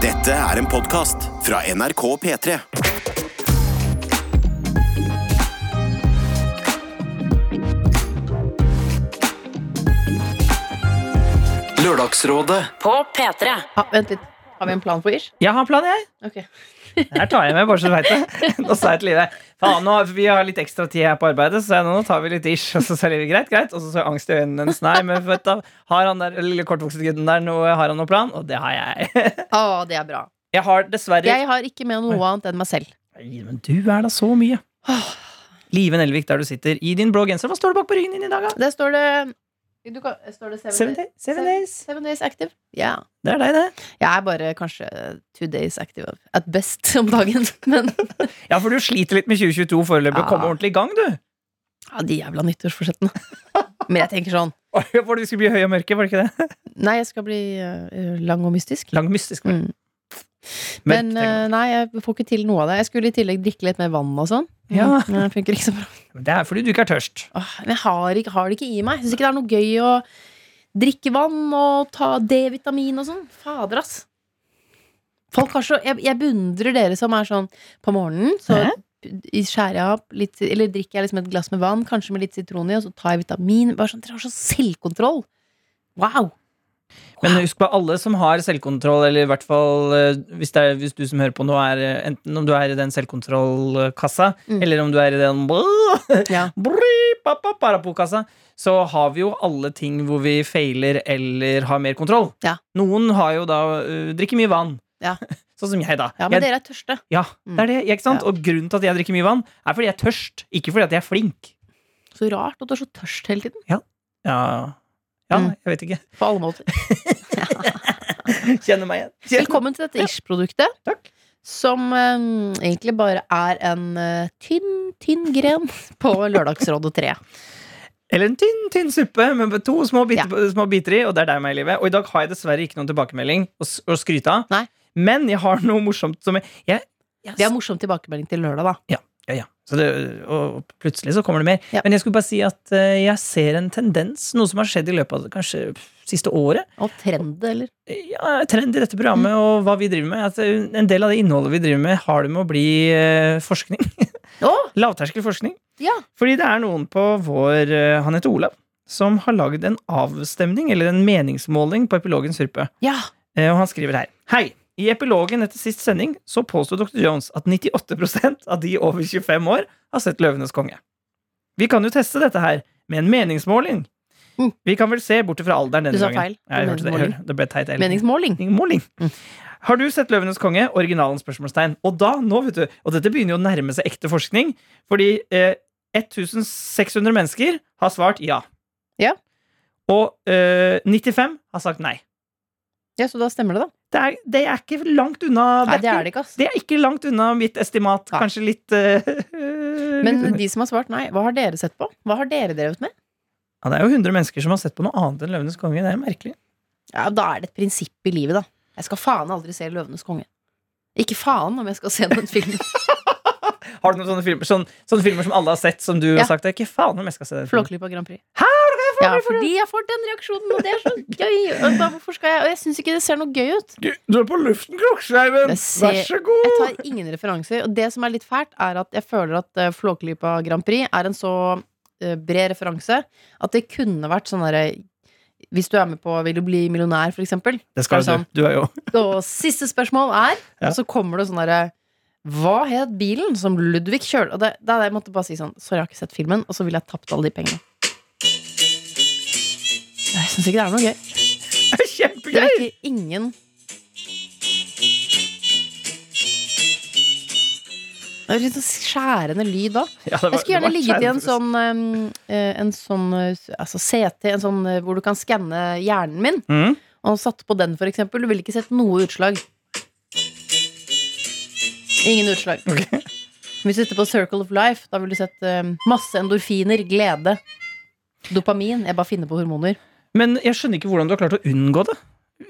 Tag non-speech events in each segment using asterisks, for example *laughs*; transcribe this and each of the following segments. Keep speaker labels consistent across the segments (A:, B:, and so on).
A: Dette er en podkast fra NRK P3.
B: Lørdagsrådet
C: På P3.
D: Ha, vent litt. Har vi en plan for Ish?
E: Jeg har en plan, jeg.
D: Ok.
E: Det her tar jeg med, bare så du veit det.
D: *laughs*
E: Nå sa jeg til Live Faen, nå, har- vi har litt ekstra tid her på arbeidet, så sa jeg, nå, nå tar vi litt ish. Og så sa Live greit, greit. Og så så jeg angst i øynene hennes. Nei, men vet du, har han der lille kortvokste gutten der noe, har han noen plan? Og det har jeg. *laughs*
D: Å, det er bra.
E: Jeg har dessverre
D: Jeg har ikke med noe annet enn meg selv.
E: Nei, Men du er da så mye. Live Nelvik, der du sitter i din blå genser. Hva står det bak på ryggen din i dag, da?
D: Der står det du kan, Står det seven,
E: Seven,
D: days?
E: day, seven days.
D: Seven days active? Ja.
E: Det er deg, det.
D: Jeg er bare kanskje two days active at best om dagen. *laughs* Men
E: Ja, for du sliter litt med 2022 foreløpig.
D: Ja.
E: Kom ordentlig i gang, du. *laughs*
D: ja, de jævla nyttårsforsettene. Men jeg tenker sånn
E: Var det vi skulle bli høye og mørke, var det ikke det?
D: Nei, jeg skal bli eh, lang og mystisk.
E: Lang mystisk.
D: Mm. Men eh, nei, jeg får ikke til noe av det. Jeg skulle i tillegg drikke litt mer vann og sånn.
E: Ja.
D: Men det funker ikke så bra.
E: Men det er fordi du ikke er tørst.
D: Åh, Men jeg har, ikke, har det ikke i meg. Jeg syns ikke det er noe gøy å drikke vann og ta D-vitamin og sånn. Fader, ass. Folk har så, jeg, jeg beundrer dere som er sånn på morgenen. Så i- skjærer jeg opp litt, eller drikker jeg liksom et glass med vann, kanskje med litt sitron i, og så tar jeg vitamin. Bare sånn, Dere har så selvkontroll! Wow!
E: Men husk på alle som har selvkontroll, eller i hvert fall eh, hvis, det er, hvis du som hører på nå, er eh, enten om du er i den selvkontrollkassa,
D: Mm.
E: eller om du er i den *laughs*
D: Ja.
E: parapokassa, så har vi jo alle ting hvor vi feiler eller har mer kontroll.
D: Ja.
E: Noen har jo da eh, drikker mye vann.
D: Ja.
E: *laughs* Sånn som jeg, da.
D: Ja, men
E: jeg,
D: dere er tørste.
E: ja,
D: Mm.
E: det er det, ikke sant?
D: Ja.
E: Og grunnen til at jeg drikker mye vann, er fordi jeg er tørst, ikke fordi at jeg er flink.
D: Så rart at du er så tørst hele tiden.
E: Ja, ja
D: Mm.
E: jeg vet ikke. *laughs*
D: På alle måter.
E: Kjenner meg igjen. Kjenner-
D: Velkommen til dette Ish-produktet.
E: Takk.
D: Som eh, egentlig bare er en eh, tynn, tynn gren *laughs* på Lørdagsrådet 3.
E: Eller en tynn tynn suppe med to små, bit,
D: Ja.
E: små biter i, og det er deg, meg i livet. Og i dag har jeg dessverre ikke noen tilbakemelding å, s- å skryte av.
D: Nei.
E: Men jeg har noe morsomt som jeg, jeg, jeg
D: Det er morsom tilbakemelding til lørdag, da.
E: ja, ja. Så det, og og plutselig så kommer det mer.
D: Ja.
E: Men jeg skulle bare si at eh, jeg ser en tendens, noe som har skjedd i løpet av det kanskje siste året.
D: Og trend, eller?
E: Ja, Trend i dette programmet
D: Mm.
E: og hva vi driver med. At eh, en del av det innholdet vi driver med, har det med å bli eh, forskning. *laughs*
D: Å!
E: Lavterskelforskning.
D: Ja.
E: Fordi det er noen på vår eh, Han heter Olav. Som har lagd en avstemning, eller en meningsmåling, på Epilogens surpe.
D: ja.
E: Eh, Og han skriver her. Hei! I epilogen etter sist sending så påsto dr. Jones at 98 av de over 25 år har sett Løvenes konge. Vi kan jo teste dette her med en meningsmåling.
D: Mm.
E: Vi kan vel se bort fra alderen denne
D: Du sa
E: gangen.
D: feil.
E: Ja, jeg hørte det. Jeg hørte det. Det ble teit. jeg-
D: Meningsmåling.
E: Måling.
D: Mm.
E: Har du sett Løvenes konge? Originalen? spørsmålstegn. Og da, nå vet du, og dette begynner jo å nærme seg ekte forskning, fordi eh, 1600 mennesker har svart ja.
D: Ja.
E: Og eh, 95 har sagt nei.
D: Ja, så da stemmer det, da.
E: Det er, det er ikke langt unna.
D: Nei, det er det ikke, ass.
E: det er ikke langt unna mitt estimat.
D: Nei.
E: Kanskje litt eh,
D: *laughs* Men
E: litt-
D: de som har svart nei, hva har dere sett på? Hva har dere drevet med?
E: ja, Det er jo 100 mennesker som har sett på noe annet enn Løvenes konge. Det er merkelig.
D: Ja, Da er det et prinsipp i livet, da. Jeg skal faen aldri se Løvenes konge. Ikke faen om jeg skal se noen film.
E: Har du noen sånne filmer, sånn- sånne filmer som alle har sett, som du
D: Ja.
E: har sagt? Det er ikke faen om jeg skal se den filmen».
D: Flåklypa Grand Prix. Ja, fordi jeg får den reaksjonen, og det er så gøy. Og da, hvorfor skal jeg Og jeg syns ikke det ser noe gøy ut.
E: Du, du er på luften, Kroksheimen!
D: Jeg ser-
E: Vær så god!
D: Jeg tar ingen referanser. Og det som er litt fælt, er at jeg føler at eh, Flåklypa Grand Prix er en så eh, bred referanse at det kunne vært sånn derre Hvis du er med på Vil du bli millionær, for eksempel.
E: Det skal jo
D: Sånn.
E: du. Du er jo *laughs*
D: Og siste spørsmål er
E: Ja.
D: Og så kommer det sånn derre Hva het bilen som Ludvig kjørte? Og det, det, jeg måtte bare si sånn Sorry, jeg har ikke sett filmen. Og så ville jeg tapt alle de pengene. Jeg syns ikke det er noe gøy. Det
E: kjempegøy!
D: vekker ingen Det er litt sånn skjærende lyd da.
E: Ja, det var-
D: Jeg skulle gjerne
E: det var
D: ligget i en
E: skjermfest.
D: sånn, em, eh, en sånn eh, altså CT, en sånn eh, hvor du kan skanne hjernen min.
E: Mhm.
D: Og satt på den, for eksempel. Du ville ikke sett noe utslag. Ingen utslag.
E: Ok.
D: Hvis du sitter på Circle of Life, da ville du sett em, masse endorfiner, glede, dopamin. Jeg bare finner på hormoner.
E: Men jeg skjønner ikke hvordan du har klart å unngå det.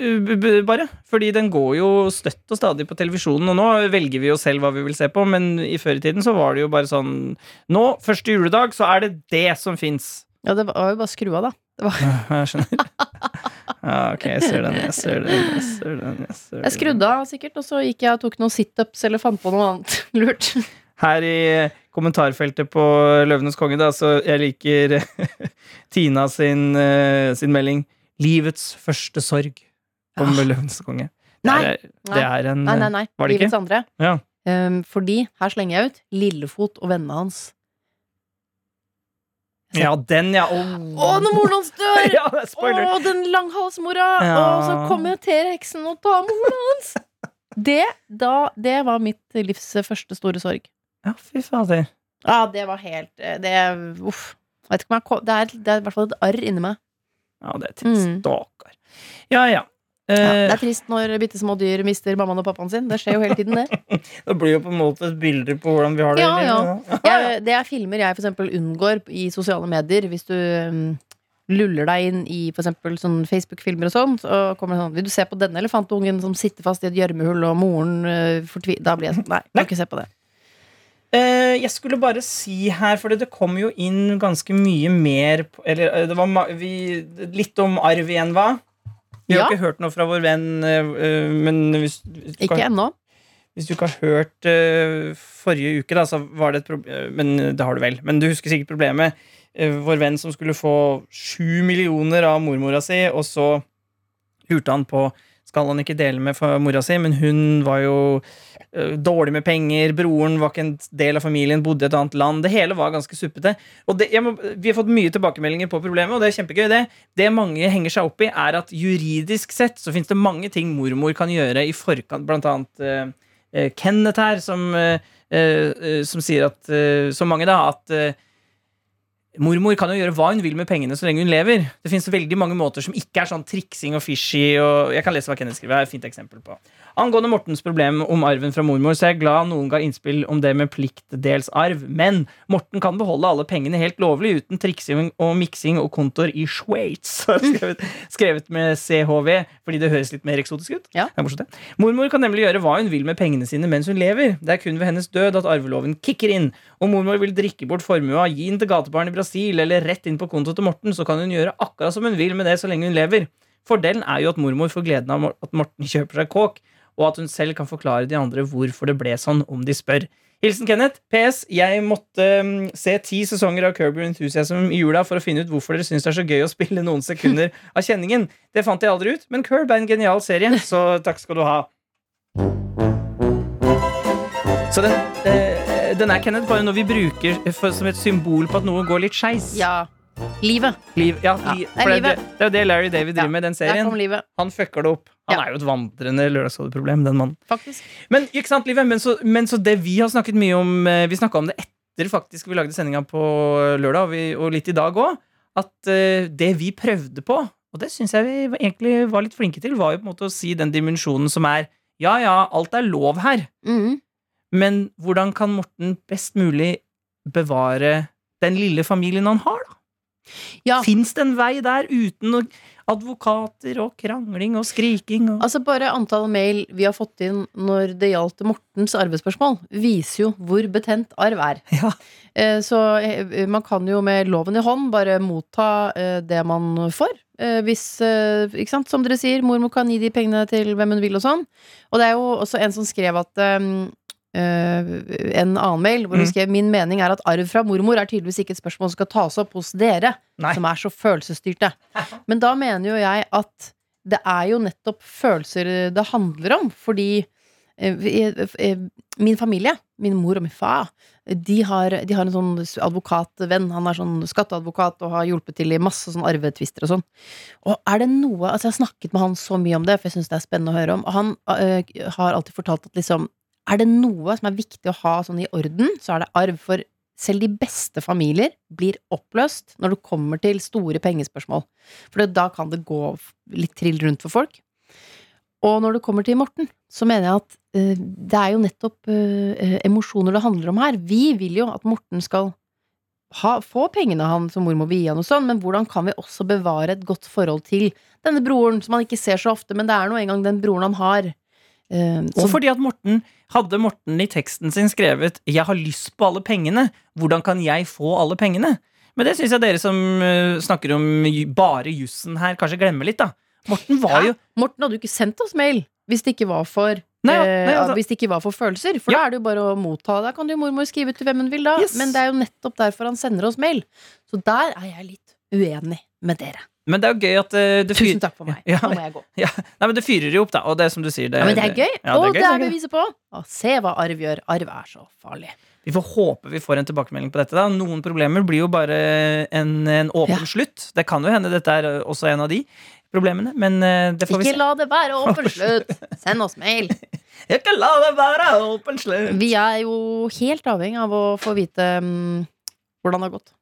E: Uh, b- b- Bare. Fordi den går jo støtt og stadig på televisjonen, og nå velger vi jo selv hva vi vil se på, men i før i tiden så var det jo bare sånn Nå, første *laughs* juledag, så er det det som fins.
D: Ja, det var jo bare å skru av, da.
E: Jeg skjønner. Ja, ok, jeg ser den, jeg ser den, jeg ser den. Jeg, ser den.
D: Jeg skrudde av sikkert, og så gikk jeg og tok noen situps eller fant på noe annet *laughs* lurt.
E: Her i kommentarfeltet på Løvenes konge, da, så jeg liker eh, *laughs* Tina sin, eh, sin melding 'Livets første sorg' om Løvenes konge. Det
D: Ah. Nei.
E: er- eh, Det er en eh,
D: Nei, nei, nei.
E: Var det ikke?
D: Livets andre.
E: Ja.
D: Ehm, fordi, her slenger jeg ut, Lillefot og vennene hans.
E: Ja, den, ja.
D: Å, når
E: *laughs*
D: moren hans dør!
E: ja, det er
D: Å,
E: spoiler.
D: den langhalsmora!
E: Ja.
D: Og så kommer T-rexen og tar moren hans! *laughs* Det, da, det var mitt livs første store sorg.
E: Ja, fy fader.
D: Ja, det var helt eh, Det, uff. Jeg Vet ikke om jeg kom, det, er, det er i hvert fall et arr inni meg.
E: Ja, det er trist.
D: Mm.
E: Stakkar. Ja, ja.
D: Ja, det
E: Eh,
D: er trist når bitte små dyr mister mammaen og pappaen sin. Det skjer jo hele tiden, det.
E: det blir jo på en måte et bilde på hvordan vi har det.
D: Ja,
E: i livet, da.
D: jeg, Det er filmer jeg for eksempel unngår i sosiale medier Hvis du mm, luller deg inn i for eksempel sånn Facebook-filmer og sånn Så kommer det sånn, vil du se på denne elefantungen som sitter fast i et gjørmehull Og moren eh, fortvi... Da blir jeg sånn, nei,
E: Nei.
D: kan ikke se på det
E: Eh, jeg skulle bare si her, for det kom jo inn ganske mye mer på- Eller eh, det var ma vi, litt om arv igjen, hva? Vi
D: Ja.
E: har ikke hørt noe fra vår venn, eh, eh, men hvis, hvis, du,
D: Ikke
E: ikke.
D: ennå
E: hvis du ikke har hørt eh, forrige uke, da, så var det et problem Men eh, det har du vel. Men du husker sikkert problemet. Eh, vår venn som skulle få sju millioner av mormora si, og så lurte han på skal han ikke dele med for mora si, men hun var jo eh, dårlig med penger, broren var ikke en del av familien, bodde i et annet land. Det hele var ganske suppete. Og det, jeg må, vi har fått mye tilbakemeldinger på problemet, og det er kjempegøy. Det Det mange henger seg opp i, er at juridisk sett så fins det mange ting mormor kan gjøre i forkant, blant annet eh, eh, Kenneth her, som, eh, eh, som sier at eh, Så mange, da, at eh, Mormor kan jo gjøre hva hun vil med pengene så lenge hun lever. Det finnes veldig mange måter som ikke er sånn triksing og fishy. og Jeg kan lese hva Kenneth skriver. Det er et fint eksempel på. Angående Mortens problem om arven fra mormor, så er jeg glad noen ga innspill om det med pliktdels arv, men Morten kan beholde alle pengene helt lovlig uten triksing og miksing og kontor i Sveits. *laughs* har jeg Skrevet, skrevet med CHV, fordi det høres litt mer eksotisk ut.
D: Ja.
E: Det er morsomt, det. Mormor kan nemlig gjøre hva hun vil med pengene sine mens hun lever. Det er kun ved hennes død at arveloven kicker inn. Om mormor vil drikke bort formua, gi den til gatebarn i Brasil eller rett inn på kontoen til Morten, så kan hun gjøre akkurat som hun vil med det så lenge hun lever. Fordelen er jo at mormor får gleden av mor- at Morten kjøper seg kåk, og at hun selv kan forklare de andre hvorfor det ble sånn, om de spør. Hilsen Kenneth. PS. Jeg måtte mm, se ti sesonger av Curb Your Enthusiasm i jula for å finne ut hvorfor dere syns det er så gøy å spille noen sekunder
D: *laughs*
E: av kjenningen. Det fant jeg aldri ut, men Curb er en genial serie, så takk skal du ha. Så den, eh, den er Kenneth bare noe vi bruker for, som et symbol på at noe går litt skeis.
D: Ja, livet
E: Liv, ja,
D: Ja,
E: li,
D: det er
E: for det, er
D: livet.
E: det, det er jo det Larry David driver
D: Ja,
E: med i den
D: Der
E: serien.
D: kom livet,
E: Han fucker det opp. Han
D: Ja.
E: er jo et vandrende lørdagsrådeproblem, den mannen.
D: faktisk
E: Men ikke sant, Live? Men så, men så det vi har snakket mye om eh, Vi snakka om det etter faktisk vi lagde sendinga på lørdag, og, vi, og litt i dag òg, at eh, det vi prøvde på, og det syns jeg vi var- egentlig var litt flinke til, var jo på en måte å si den dimensjonen som er ja, ja, alt er lov her,
D: Mhm.
E: men hvordan kan Morten best mulig bevare den lille familien han har, da?
D: Ja.
E: Fins det en vei der uten å- advokater og krangling og skriking og
D: Altså Bare antall mail vi har fått inn når det gjaldt Mortens arvespørsmål, viser jo hvor betent arv er.
E: Ja.
D: Eh, Så eh, man kan jo med loven i hånd bare motta eh, det man får. Eh, Hvis, eh, ikke sant, som dere sier, mormor kan gi de pengene til hvem hun vil og sånn. Og det er jo også en som skrev at eh, eh, En annen mail hvor hun
E: Mm.
D: skrev Min mening er at arv fra mormor er tydeligvis ikke et spørsmål som skal tas opp hos dere,
E: Nei.
D: som er så følelsesstyrte. Men da mener jo jeg at det er jo nettopp følelser det handler om, fordi eh, vi- eh, min familie, min mor og min far, de har, de har en sånn advokatvenn. Han er sånn skatteadvokat og har hjulpet til i masse sånn arvetvister og sånn. Og er det noe Altså, jeg har snakket med han så mye om det, for jeg syns det er spennende å høre om. Og han øh, har alltid fortalt at liksom Er det noe som er viktig å ha sånn i orden, så er det arv. For selv de beste familier blir oppløst når det kommer til store pengespørsmål. For da kan det gå litt trill rundt for folk. Og når det kommer til Morten, så mener jeg at eh, det er jo nettopp eh, eh, emosjoner det handler om her. Vi vil jo at Morten skal ha, få pengene han som mormor vil gi han og sånn, men hvordan kan vi også bevare et godt forhold til denne broren, som han ikke ser så ofte, men det er nå engang den broren han har. Eh, så-
E: Og fordi at Morten hadde Morten i teksten sin skrevet 'Jeg har lyst på alle pengene'. Hvordan kan jeg få alle pengene? Men det syns jeg dere som eh, snakker om ju- bare jussen her, kanskje glemmer litt. da Morten var jo
D: Morten hadde jo ikke sendt oss mail hvis det ikke var for
E: Nei, ja,
D: eh,
E: nei, altså-
D: Hvis det ikke var for følelser. For
E: Ja.
D: da er det jo bare å motta. Da kan jo mormor skrive til hvem hun vil, da.
E: Yes.
D: Men det er jo nettopp derfor han sender oss mail. Så der er jeg litt uenig med dere.
E: Men det er jo gøy at eh, det fyrer
D: Tusen takk for meg.
E: Ja,
D: Nå må jeg gå.
E: ja. Nei, men det fyrer jo opp, da. Og det er som du sier, det,
D: Ja, men det er gøy.
E: ja,
D: og det er
E: det er gøy.
D: beviset på å se hva arv gjør. Arv er så farlig.
E: Vi får håpe vi får en tilbakemelding på dette. da Noen problemer blir jo bare en, en åpen
D: Ja.
E: slutt. Det kan jo hende dette er eh, også en av de problemene, men eh, det får vi
D: Ikke
E: se.
D: la det
E: *laughs*
D: være åpen slutt. Send oss mail.
E: Ikke la det være åpen slutt!
D: Vi er jo helt avhengig av å få vite mm, hvordan det har gått.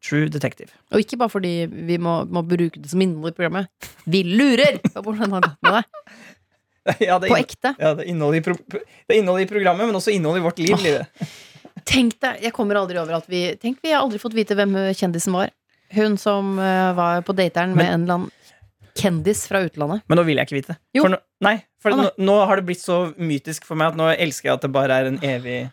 E: True Detective.
D: Og ikke bare fordi vi må, må bruke det som innhold i programmet. Vi lurer på hvordan det har gått med deg.
E: *laughs* ja, det
D: På
E: er inn-
D: ekte.
E: ja, det er innholdet i, pro det er innholdet i programmet, men også innholdet i vårt liv.
D: Åh.
E: Live.
D: Tenk deg, jeg kommer aldri over at vi Tenk, vi har aldri fått vite hvem eh, kjendisen var. Hun som eh, var på dateren med
E: Men-
D: en eller annen kjendis fra utlandet.
E: Men nå vil jeg ikke vite.
D: Jo.
E: For nå, nei, for
D: Å, nei.
E: Nå, nå har det blitt så mytisk for meg at nå elsker jeg at det bare er en evig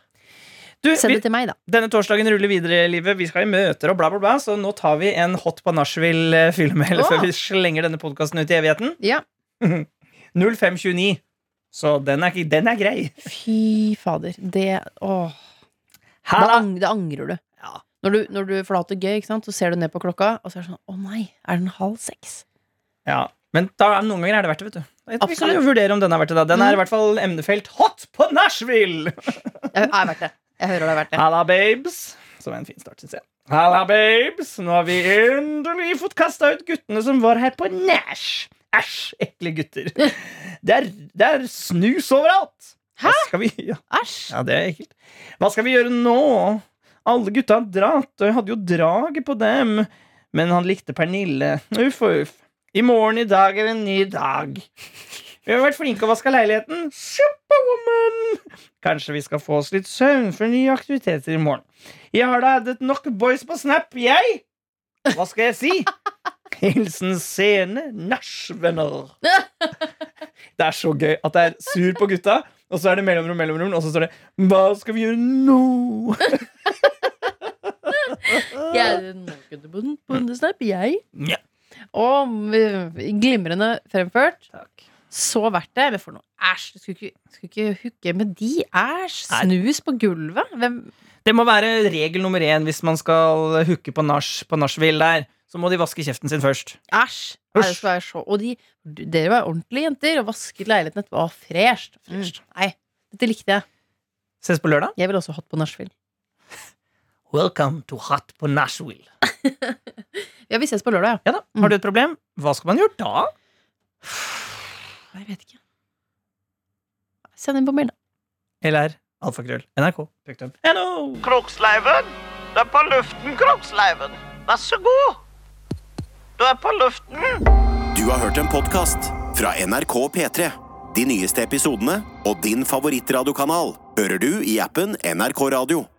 E: du,
D: Send det
E: vi,
D: til meg, da.
E: Denne torsdagen ruller videre i livet. Vi skal i møter og bla, bla, bla. Så nå tar vi en hot på Nashville-filmhell
D: Åh.
E: før vi slenger denne podkasten ut i evigheten.
D: Ja.
E: 0529. Så den er, ikke- den er grei.
D: Fy fader. Det Åh.
E: Her
D: Da
E: da.
D: ang, det angrer du.
E: Ja.
D: Når du, når du for da har hatt det gøy, ikke sant? så ser du ned på klokka, og så er det sånn Å nei, er den halv seks?
E: Ja. Men da, er- noen ganger er det verdt det, vet du. Vi kan
D: Absolutt. Mm.
E: jo vurdere om den er verdt det. da Den er i hvert fall emnefelt hot på Nashville!
D: Jeg, jeg verdt det. Jeg hører det er verdt det.
E: Halla, babes. Som er en fin start, synes jeg. Halla, babes. Nå har vi endelig fått kasta ut guttene som var her på Nash. Æsj, ekle gutter. Det er, det er snus overalt. Hva skal vi ja,
D: Æsj!
E: ja, det er ekkelt. Hva skal vi gjøre nå? Alle gutta har dratt, og jeg hadde jo draget på dem. Men han likte Pernille. Uff og uff. I morgen i dag er en ny dag. Vi har vært flinke og vaska leiligheten. Superwoman! Kanskje vi skal få oss litt søvn før nye aktiviteter i morgen. Jeg har da addet nok boys på Snap, jeg! Hva skal jeg si? Hilsen sene nachvenner. Det er så gøy at det er sur på gutta, og så er det mellomrom, mellomrom, og så står det 'Hva skal vi gjøre nå?'
D: Jeg, nå kunne du på- på en snap, jeg.
E: Nja.
D: Og eh, glimrende fremført.
E: Takk.
D: Så verdt det. Men for noe æsj! du Skulle ikke, skulle ikke hooke med de. Æsj! Snus på gulvet. Hvem
E: Det må være regel nummer én hvis man skal hooke på nach på nachspiel der. Så må de vaske kjeften sin først.
D: Æsj! Nei, det skulle være så Og de, dere var ordentlige jenter og vasket leiligheten etterpå. Å, Fresht. Mm. Nei, dette likte jeg.
E: Ses på lørdag.
D: Jeg ville også hatt på nachspiel.
E: Welcome to Hot på Nashville.
D: Ja, vi ses på lørdag, ja.
E: Ja da, Har du et problem? Hva skal man gjøre da?
D: Jeg vet ikke. Send inn på mail, da.
E: LR. Alfakrøll. NRK. No.
C: Kroksleiven. Du er på luften, Kroksleiven. Vær så god. Du er på luften.
A: Du har hørt en podcast fra NRK P3. De nyeste episodene og din favorittradiokanal hører du i appen NRK Radio.